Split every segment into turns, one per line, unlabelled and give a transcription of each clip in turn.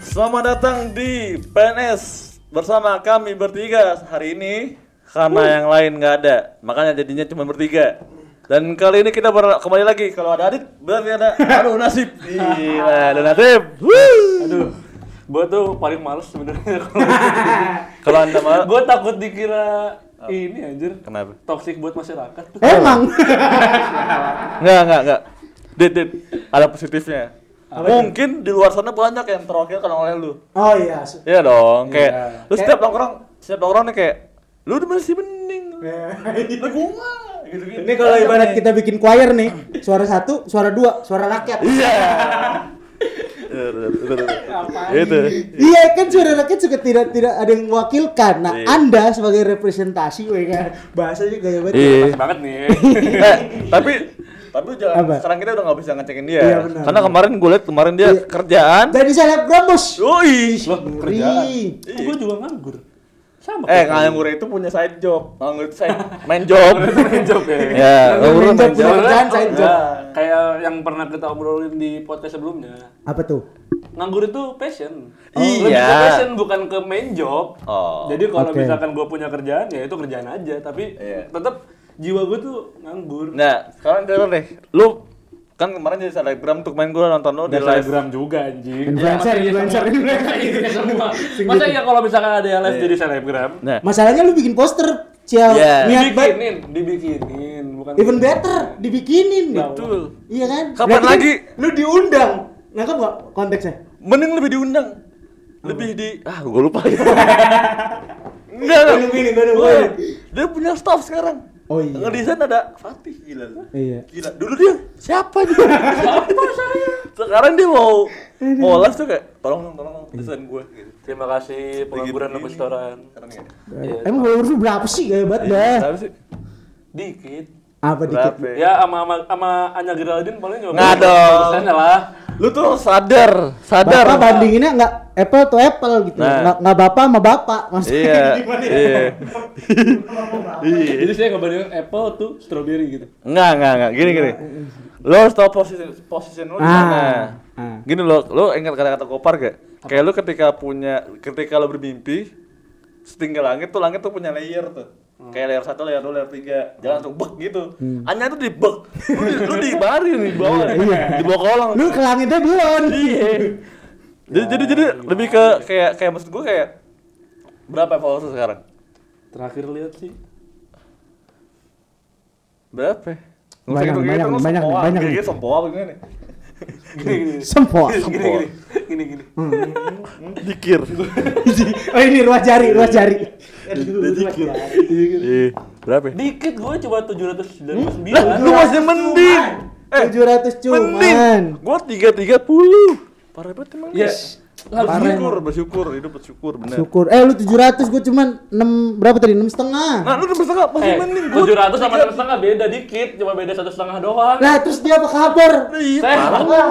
Selamat datang di PNS bersama kami bertiga hari ini karena yang lain nggak ada makanya jadinya cuma bertiga dan kali ini kita ber- kembali lagi kalau ada Adit berarti ada aduh nasib gila ada nasib aduh
Gue tuh paling males sebenarnya.
kalau anda mau
Gue gitu. takut dikira ini anjir
kenapa
toksik buat masyarakat.
Emang.
nggak nggak nggak Dit, Dit, ada positifnya mungkin di luar sana banyak yang terwakil karena oleh lu
Oh iya. su-
Iya dong, kayak
Iya.
lu setiap nongkrong, setiap nongkrong nih kayak lu udah masih bening. Lah gua mah gitu-gitu.
Ini
Iya,
kalau ibarat kita bikin choir nih, suara satu, suara dua, suara rakyat.
Iya. Itu.
Iya kan suara rakyat juga tidak tidak ada yang mewakilkan. Nah
Iya.
Anda sebagai representasi, weh kan bahasanya gaya banget.
Iya.
Makasih banget nih.
Eh, tapi tapi jangan
Apa?
sekarang kita udah nggak bisa ngecekin dia.
Iya, benar.
Karena kemarin gue liat kemarin dia
Iya. Oh,
kerjaan.
Dari selebgram
Iya,
bos.
Woi.
Loh,
Ngeri. Iya.
kerjaan. Gue juga nganggur. Sama.
Eh,
kayak
nganggur itu punya side job. Nganggur itu side main job.
Main job ya.
Ya, nganggur itu main Iya.
Punya
job.
kerjaan, side job.
Ya, Kayak yang pernah kita obrolin di podcast sebelumnya.
Apa tuh?
Nganggur itu passion.
Iya.
Lebih ke passion bukan ke main job.
Oh.
Jadi kalau
Oke.
misalkan gue punya kerjaan ya itu kerjaan aja. Tapi
Iya.
tetap jiwa gue tuh nganggur.
Nah, sekarang denger deh. Lu kan kemarin jadi selebgram tuh main gue nonton lu di
Dan
live.
selebgram juga anjing.
Influencer,
Ya, masa
influencer,
iya semua.
influencer.
Masa iya semua. Masa iya kalau misalkan ada yang live jadi selebgram,
Nah,
Masalahnya lu bikin poster, ciao.
Iya.
Niat baik.
dibikinin, dibikinin, bukan
Even better, dibikinin. ya Allah.
Betul.
Iya kan?
Kapan
Berarti kan
lagi?
Lu diundang. Nangkep nggak konteksnya?
mending lebih diundang lebih di ah gue lupa ya enggak
Minum ini, minum
Wah,
ini.
dia punya staff sekarang
Oh, iya.
ngedesain ada Fatih gila lu.
Iya.
gila dulu dia siapa dia siapa saya sekarang dia mau mau live tuh kayak tolong dong tolong dong
Iya.
desain gue gitu
Terima kasih pengangguran
Dikit
dan
ini.
restoran.
keren ya
Emang followers lu berapa sih gaya banget dah?
Iya, Tapi sih
Dikit.
Eh. Apa dikit?
berapa ya?
Ya sama sama sama Anya Geraldine paling juga.
Nggak dong.
Persennya lah.
lu tuh sadar sadar
Bapak bandinginnya nggak apple to apple gitu,
Nah.
nggak nggak bapak sama bapak maksudnya.
iya iya iya
Jadi saya ngebandingin apple tuh strawberry gitu.
Enggak, enggak, enggak. Gini, gini. Lo harus tahu posisi posisi lo di
Ah,
mana.
ah.
Gini lo, lo ingat kata-kata Kopar gak? Kayak lo ketika punya ketika lo bermimpi setinggi langit tuh langit tuh punya layer tuh.
Hmm.
Kayak layer satu, layer dua, layer tiga. Jangan langsung bek gitu. Hanya tuh di bek. Lu, di- lu di bari nih di bawah. Di bawah kolong.
Iya, Lu ke Ya, iya. langitnya belum.
Iya. Jadi jadi jadi lebih ke kayak kayak maksud gue kayak berapa followers lu sekarang?
Terakhir lihat sih
Berapa?
Banyak,
gitu,
banyak, banyak, banyak. gitu.
Gini sempoa gitu, gimana?
gini gini.
Sempoa.
Gini gini. Gini gini.
Hmm.
Dikir.
oh ini ruas jari, ruas jari. Ruas jari.
Iya. Berapa?
Dikit gue coba 799.
Lah, lu masih mending. Eh, mending.
700 cuman.
Gua 330. Parah banget emang.
Ya.
Harus
Parah
bersyukur, bersyukur, hidup bersyukur, bener.
Syukur. Eh lu 700 gua cuman 6 berapa tadi? 6 setengah.
Nah, lu udah bersenggak, masih
Eh,
mending.
700 sama satu setengah beda dikit, cuma beda satu setengah doang.
Nah, terus dia apa kabar?
Iya,
Saya-
parah.
Wah,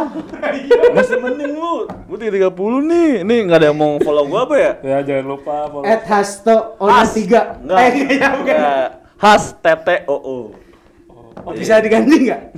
Masih mending lu. Gua 330 nih. Ini enggak ada yang mau follow gua apa ya?
Ya jangan lupa follow.
At Hasto Eh, Ona 3.
Enggak.
iya,
Enggak. Has TTOO.
Oh, bisa diganti enggak?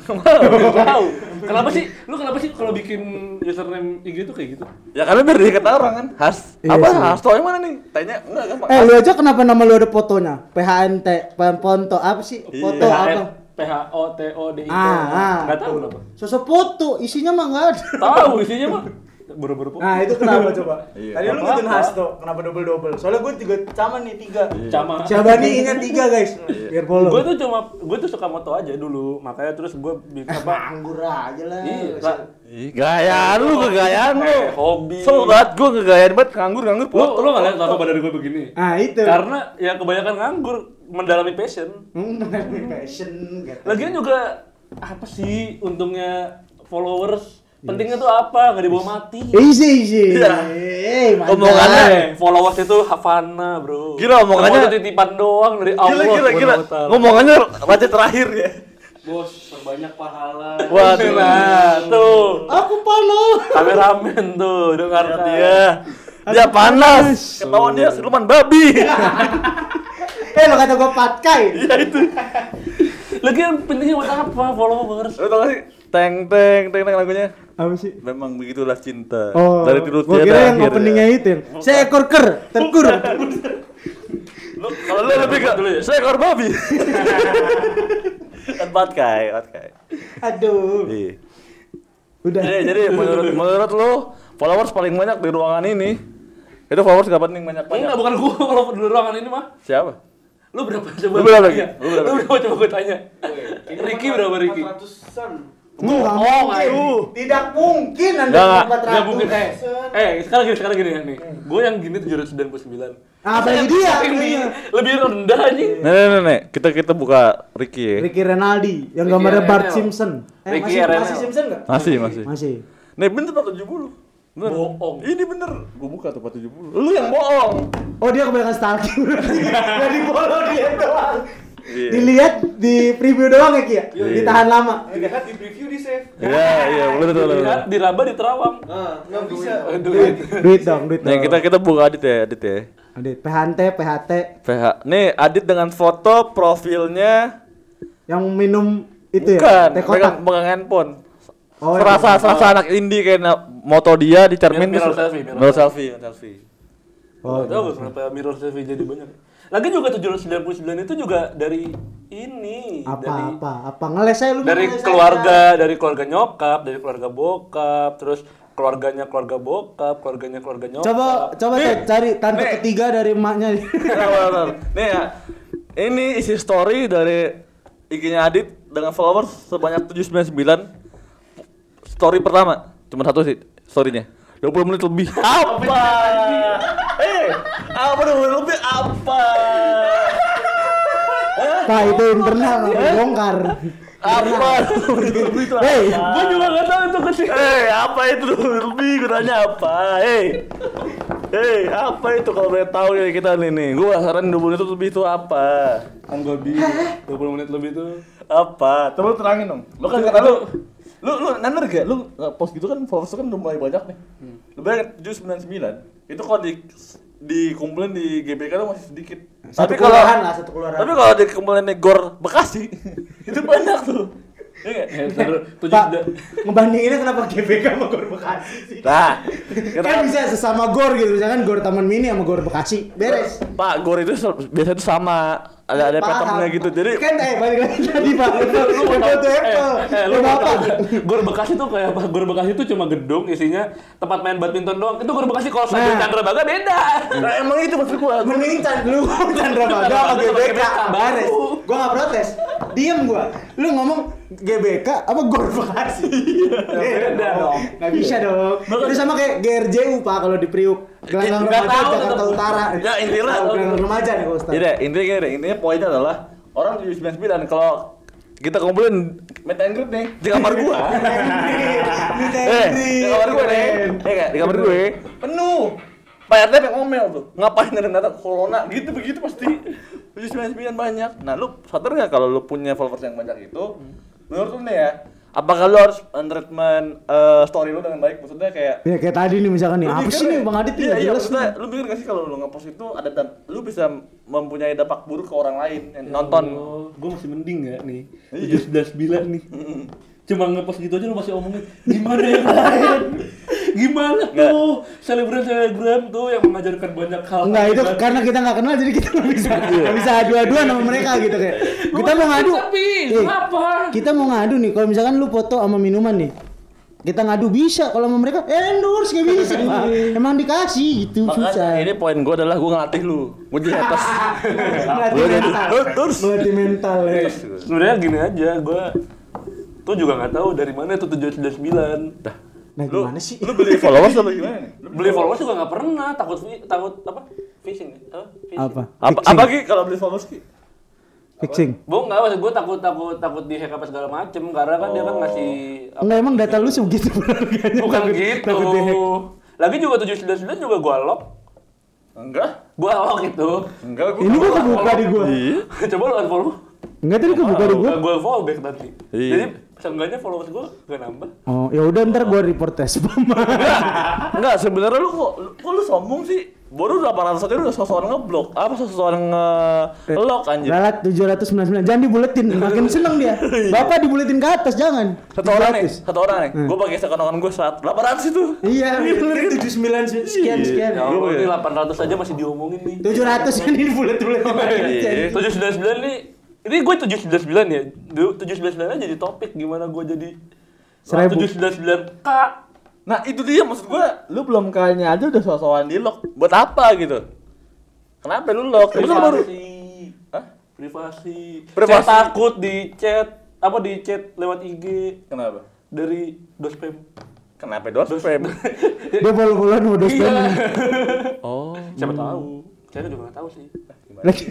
Tahu. Kenapa sih? Lu kenapa sih kalau bikin username IG tuh kayak gitu?
Ya karena biar diinget orang kan. Has
Iya
apa
sih.
has tau yang mana nih? Tanya enggak gampang.
Eh lu aja kenapa nama lu ada fotonya? PHNT, Ponto apa sih? Foto Iya. apa?
Iya, P H O T O D I T.
Ah, ah.
Enggak nah, tahu kenapa.
Sosok foto, isinya mah nggak ada.
Tahu isinya mah. Buru-buru pun.
Nah itu kenapa coba?
Iya.
Tadi lu
Apa-apa.
ngikutin Hasto, kenapa double double? Soalnya gue juga sama nih tiga.
Cama.
Syabani ingat tiga guys.
Iya.
Biar bolong.
Gue tuh cuma gue tuh suka moto aja dulu, makanya terus gue bikin apa?
anggur aja lah.
Iya, lah.
Ih, Gayaan lu, kegayaan lu.
Eh, hobi.
Sel banget gua kegayaan banget, nganggur-nganggur.
Lu
foto.
lu enggak lihat tato badan gue begini.
Nah itu.
Karena ya kebanyakan nganggur mendalami passion.
Hmm, menarik fashion gitu.
Lagian juga apa sih untungnya followers? Pentingnya tuh apa? Gak dibawa mati.
Easy easy.
Iya.
Eh, mantap.
Omongannya.
Eh, followers itu Havana, bro.
Gila, omongannya-
Semua itu titipan doang dari Allah.
Gila, gila, gila.
Subhanahu wa ta'ala.
Ngomongannya baca terakhir ya.
Bos, perbanyak pahala.
Waduh.
Nah, tuh.
Aku panas.
Kameramen tuh, dengar
Dia, Iya. dia panas. Ketahuan dia siluman babi.
Eh lo kata gue patkai.
Iya itu.
Lagian pentingnya buat apa followers?
Lu tau gak sih? Teng teng teng teng lagunya.
Apa sih?
Memang begitulah cinta.
Oh,
Dari dulu
gua
tiada
kira yang
akhir.
openingnya
ya.
itu. yang, Seekor ker, terkur.
Lu
Kalau lu lebih ke
Dulu ya?
seekor babi. Kan batkai, batkai.
Aduh.
Iya.
Udah.
Jadi, jadi menurut menurut lu followers paling banyak di ruangan ini itu followers gak penting banyak banyak.
Enggak, bukan gua kalau di ruangan ini mah.
Siapa?
Lu berapa coba?
Lu berapa
gua
lagi?
tanya?
Lu berapa
Lu berapa coba gue tanya? Ricky berapa Ricky?
400-an.
Oh,
Enggak mungkin.
aduh.
Tidak mungkin
Enggak,
Anda
enggak.
Enggak mungkin.
400. Eh,
Eh, sekarang gini, sekarang gini ya nih. Gua yang gini 799.
Apa lagi dia? Iya.
Yang di- lebih rendah anjing.
Nih, nih, nih, nih. Kita kita buka Ricky ya.
Ricky Renaldi yang
Ricky
gambarnya Bart
RNL.
Simpson. Eh,
Ricky
masih
RNL.
masih Simpson enggak?
Masih, masih.
Masih.
Nih bener Pak 70. Bener.
Bohong.
Ini bener. Gua buka tuh Pak 70. Lu yang bohong.
Oh, dia kebanyakan stalking. Dari polo dia doang.
Iya.
Dilihat di preview doang ya, Ki ya? Ditahan lama.
Ini kan di preview di save.
Iya, iya, bener bener, bener.
Di Raba di Terawang.
Ah, nggak bisa.
Aduh.
Duit dong, duit
Nih
dong.
Nah, kita kita buka Adit ya, Adit ya.
Adit, PHNT, PHT
PH. Nih Adit dengan foto profilnya
yang minum itu
bukan
ya, teh kotak.
pegang, pegang handphone.
Oh, iya.
serasa serasa anak indie kayak na- moto dia di cermin terus-
Mirror selfie, mirror
mirror selfie, mirror selfie.
Oh,
Oh,
tahu kenapa mirror selfie jadi banyak. Lagi juga 799 itu juga dari ini,
apa
dari
apa apa ngeles saya lu
dari
ngeles saya.
keluarga, dari keluarga nyokap, dari keluarga bokap, terus keluarganya keluarga bokap, keluarganya keluarga
Oh,
nyokap.
Coba coba
Eh,
Nih,
Ted, cari tante
nih.
ketiga dari emaknya.
Bentar, bentar. Nih ya, ini isi story dari IG-nya Adit dengan followers sebanyak 799. Story pertama, cuma satu sih story-nya. 20 menit lebih. Apa? eh, apa 20 menit lebih apa?
Pak itu
Eh.
internal bongkar.
Apa? 20 menit lebih itu
Hei,
apa?
Gua juga gak tahu itu kecil.
Eh, apa itu 20 menit lebih? Gue tanya apa? Eh. Eh, apa itu kalau boleh tahu ya kita nih nih. Gua saran 20 menit lebih itu apa?
Anggo 20 menit lebih tuh.
apa coba lu terangin dong lu kan kata lu lu lu nander gak lu uh, post gitu kan followers lu kan udah mulai banyak nih lebih dari tujuh sembilan sembilan itu kalau di dikumpulin di GBK lu masih sedikit
satu kelurahan lah, satu kelurahan.
tapi kalau dikumpulin di Gor Bekasi itu banyak tuh Iya
Eh,
nggak?
Eh, Pak, ngebandinginnya kenapa GBK sama Gor Bekasi sih?
nah
Kan
kenapa-
bisa sesama gor gitu, misalkan gor Taman Mini sama gor Bekasi, beres.
Pak Gor itu sel- biasanya itu sama ada ada
Paham.
patternnya gitu jadi
kan eh balik lagi tadi Pak. Lu
Lu
foto
tahu-
Apple.
eh, eh,
Lu
lu
Bapak.
bapak. Gor Bekasi tuh kayak apa? Gor Bekasi tuh cuma gedung isinya tempat main badminton doang. Itu Gor Bekasi kalau saya
Nah.
Chandra Baga beda.
Nah, emang itu maksud gua
Mending Chan, lu ngomong Chandra Baga sama GBK, bares. Gua gak protes, diem gua. Lu ngomong GBK apa Gor Bekasi?
beda dong.
Gak bisa
Iya.
dong. Itu sama kayak GRJU Pak kalau di Priuk. Gelanggang
Nggak
remaja
tahu
Jakarta
tetap.
Utara.
Ya, intinya- Iya.
Tahu Gelanggang remaja nih Pak Ustaz.
Jadi intinya gini deh, intinya poinnya adalah orang 799 kalau kita kumpulin meet and greet nih di kamar gua.
Meet and
eh, di
greet,
kamar gua nih.
keren.
Eh enggak, di kamar gue penuh. Pak RT pengen ngomel tuh. Ngapain dari data corona gitu begitu pasti 799 banyak. Nah, lu sadar nggak kalau lu punya followers yang banyak itu?
Hmm.
Menurut lu nih ya, apakah lu harus treatment eh, story lu dengan baik? Maksudnya kayak
Ya kayak tadi nih misalkan nih,
Lu
apa
mikir
sih
nggak?
nih Bang Adit nih
Iya,
nggak
iya,
jelas
maksudnya
nih.
lu mikir gak sih kalau lu ngepost itu ada dan lu bisa mempunyai dampak buruk ke orang lain yang nonton.
Ya
Iya.
gue masih mending ya nih. 799 nih. Cuma ngepost gitu aja lu masih omongin gimana yang lain. Gimana tuh selebgram-selebgram tuh yang mengajarkan banyak
Oh,
hal.
Enggak Nah,
iya,
itu kan karena kita nggak kenal jadi kita nggak bisa nggak bisa adu-aduan sama mereka gitu kayak kita mau ngadu Eh.
Tapi
Ih,
kenapa?
kita mau ngadu nih kalau misalkan lu foto sama minuman nih kita ngadu bisa kalau sama mereka eh, endorse gak bisa emang dikasih gitu
Iya.
susah
Makanya ini poin gua adalah gua ngelatih lu. Gua jadi haters.
Melatih
Gua jadi
mental
haters.
melatih mental ya
Haters gua.
Sebenarnya gini aja, gue tuh juga nggak tahu dari mana tuh 799.
Dah.
nah
Lu,
gimana sih
lu beli followers apa gimana nih? Lu-
beli followers juga nggak pernah takut vi- takut apa phishing ya? apa phishing.
apa
Apa, apa Ki, kalau beli followers Ki?
fixing
bohong nggak maksud gue takut takut takut di hack apa segala macem karena kan dia kan ngasih apa,
Enggak Oh. emang data lu segitu harganya?
bukan
Takut-
gitu
takut di hack.
lagi juga tujuh sembilan juga gue lock
Enggak.
gue lock itu
Enggak gua. Iya.
Ini gua kebuka di gua.
coba lu unfollow
Enggak tadi kebuka di gua.
gue follow back nanti
Iya.
jadi seenggaknya followers gue gak nambah
Oh, ya udah ntar gua report tes spam.
Enggak, sebenarnya lu kok lu, kok lu sombong sih? Baru 800 aja udah sosokan ngeblok. Apa sosokan nge-lock anjir.
Lalat 799. Jangan dibuletin, makin seneng dia. Bapak dibuletin ke atas jangan.
Satu orang nih, Hmm.
700.
satu orang nih. Gue pakai sekonokan gue saat 800 itu.
Iya, bener.
tujuh sembilan
Sekian sekian.
Ya Allah,
Iya.
ini 800 aja masih diomongin nih.
700 ini dibulet-buletin.
Iya.
799 nih. Ini gue 799 ya. Dulu 799 aja jadi topik gimana gue jadi Ah,
Seribu.
799 K.
Nah itu dia maksud gue, lu belum kayaknya aja udah sosokan di lock. Buat apa gitu? Kenapa lu lock? Lu kan baru.
Privasi.
Hah?
Privasi.
Privasi.
Saya takut di chat apa di chat lewat IG
Kenapa?
dari dospem.
Kenapa dospem?
Dia follow-followan mau dos
Iya.
Oh.
Siapa tahu. Saya juga nggak tahu sih.
Lagi.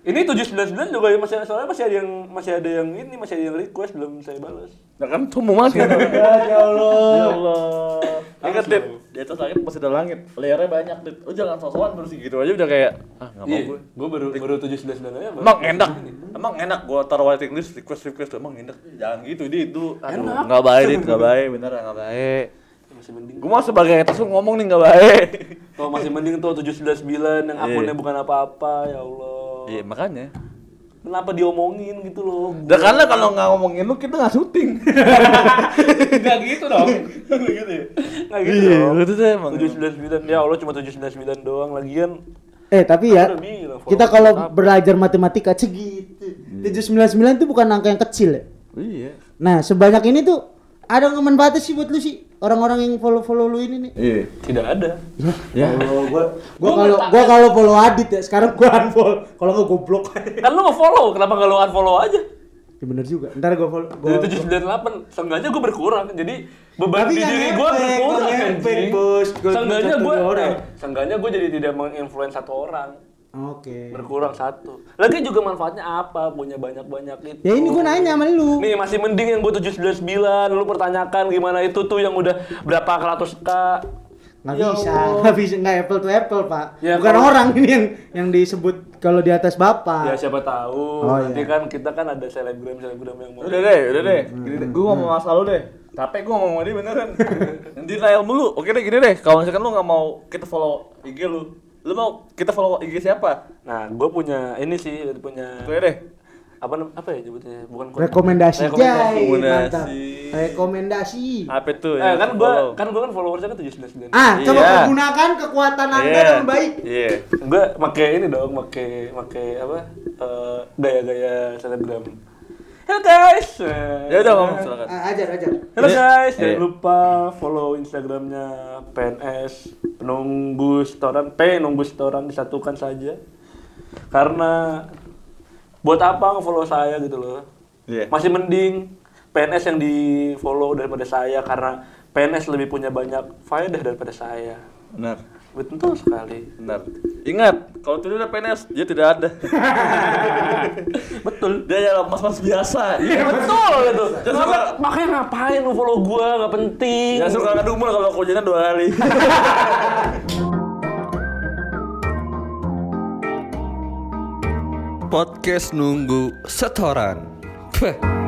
Ini 799 juga ya, masih soalnya masih ada yang masih ada yang ini masih ada yang request belum saya balas.
Nah kan sombong banget kan?
Ya Allah.
Ya Allah. Ingat Dit, di atas langit masih ada langit. Layarnya banyak Dit. Lu jangan sosokan terus gitu aja udah kayak ah enggak
Iya.
mau gue.
gue baru baru 799 aja. baru-
Emang enak. Emang enak gua taruh waiting list request request emang enak. Jangan gitu Dit itu. Aduh,
Enak.
enggak baik Dit, enggak baik bener enggak baik.
Masih mending.
Gua mah sebagai atas lu ngomong nih enggak baik.
Tuh masih mending tuh 799 yang akunnya bukan apa-apa ya Allah.
Iya, makanya.
Kenapa diomongin gitu loh?
Dan karena kalau nggak ngomongin lu kita nggak syuting.
Enggak gitu dong. gitu ya. Enggak gitu
Iya,
dong.
itu tuh emang.
799 ya Allah cuma 799 doang lagian.
Eh tapi ya,
Udah bilang, follow
kita kalau belajar matematika segitu. 799 itu bukan angka yang kecil ya.
Iya.
Nah, sebanyak ini tuh ada nggak manfaatnya sih buat lu sih? Orang-orang yang follow-follow lu ini nih.
Iya.
Tidak ada.
Ya.
Kalau gua
Gua kalau gua kalau follow Adit ya, sekarang gua unfollow. Kalau nggak gua blok.
Kan lu nge-follow, kenapa enggak lu unfollow aja?
ya bener juga. Ntar gua follow gua
Dari 798, seenggaknya gue berkurang. Jadi beban
Tapi
di
nggak
diri gue
ngefek,
berkurang
nggak
anjing.
ngefek, Bos. Gua
Seenggaknya
satu
gue
orang.
seenggaknya gue jadi tidak menginfluence satu orang.
Oke.
Berkurang satu. Lagi juga manfaatnya apa? Punya banyak-banyak itu.
Ya ini gua nanya sama
Oh.
lu.
Nih masih mending yang gue 799 Lu pertanyakan gimana itu tuh yang udah berapa ratus k
Nggak
Ya
bisa,
Allah.
nggak bisa, nggak apple to apple pak.
Ya,
Bukan
kalau-
orang ini yang yang disebut kalau di atas
Ya
bapak.
siapa tahu.
Oh,
Nanti
iya.
kan kita kan ada selebgram selebgram yang mau.
Udah deh, udah deh. Gini deh. Gue ngomong masa lu deh. Capek gue ngomong sama dia beneran. Nanti nail mulu. Oke deh gini deh. Kalau misalkan lu nggak mau kita follow IG lu, lu mau kita follow IG siapa?
Nah, gue punya ini sih punya
Gue deh.
apa nam- apa ya sebutnya? Bukan Rekomendasi.
Rekomendasi, Jai, mantap.
Rekomendasi.
Rekomendasi.
Apa itu?
Eh, kan gue
gua
kan gue kan followersnya kan 799.
Ah, coba
Iya.
pergunakan kekuatan anda dengan baik.
Iya.
Gue make ini dong, make make apa? eh, gaya-gaya selebgram. Halo guys.
Ya udah ngomong
Iya.
silakan.
Ah, ajar, ajar.
Halo
Iya.
guys,
Iya.
jangan lupa follow Instagramnya PNS Penunggu Setoran P Nunggu Setoran disatukan saja karena buat apa nge-follow saya gitu loh
Iya.
masih mending PNS yang di follow daripada saya karena PNS lebih punya banyak faedah daripada saya
Benar.
betul sekali
Benar. Ingat, kalau tidak ada PNS, dia tidak ada.
betul
Dia adalah mas-mas biasa.
Iya betul itu.
Jangan
Kenapa-
suka-
makanya ngapain lu follow gua nggak penting.
Ya suka ngadu umur kalau hujannya dua kali.
Podcast nunggu setoran. Peh.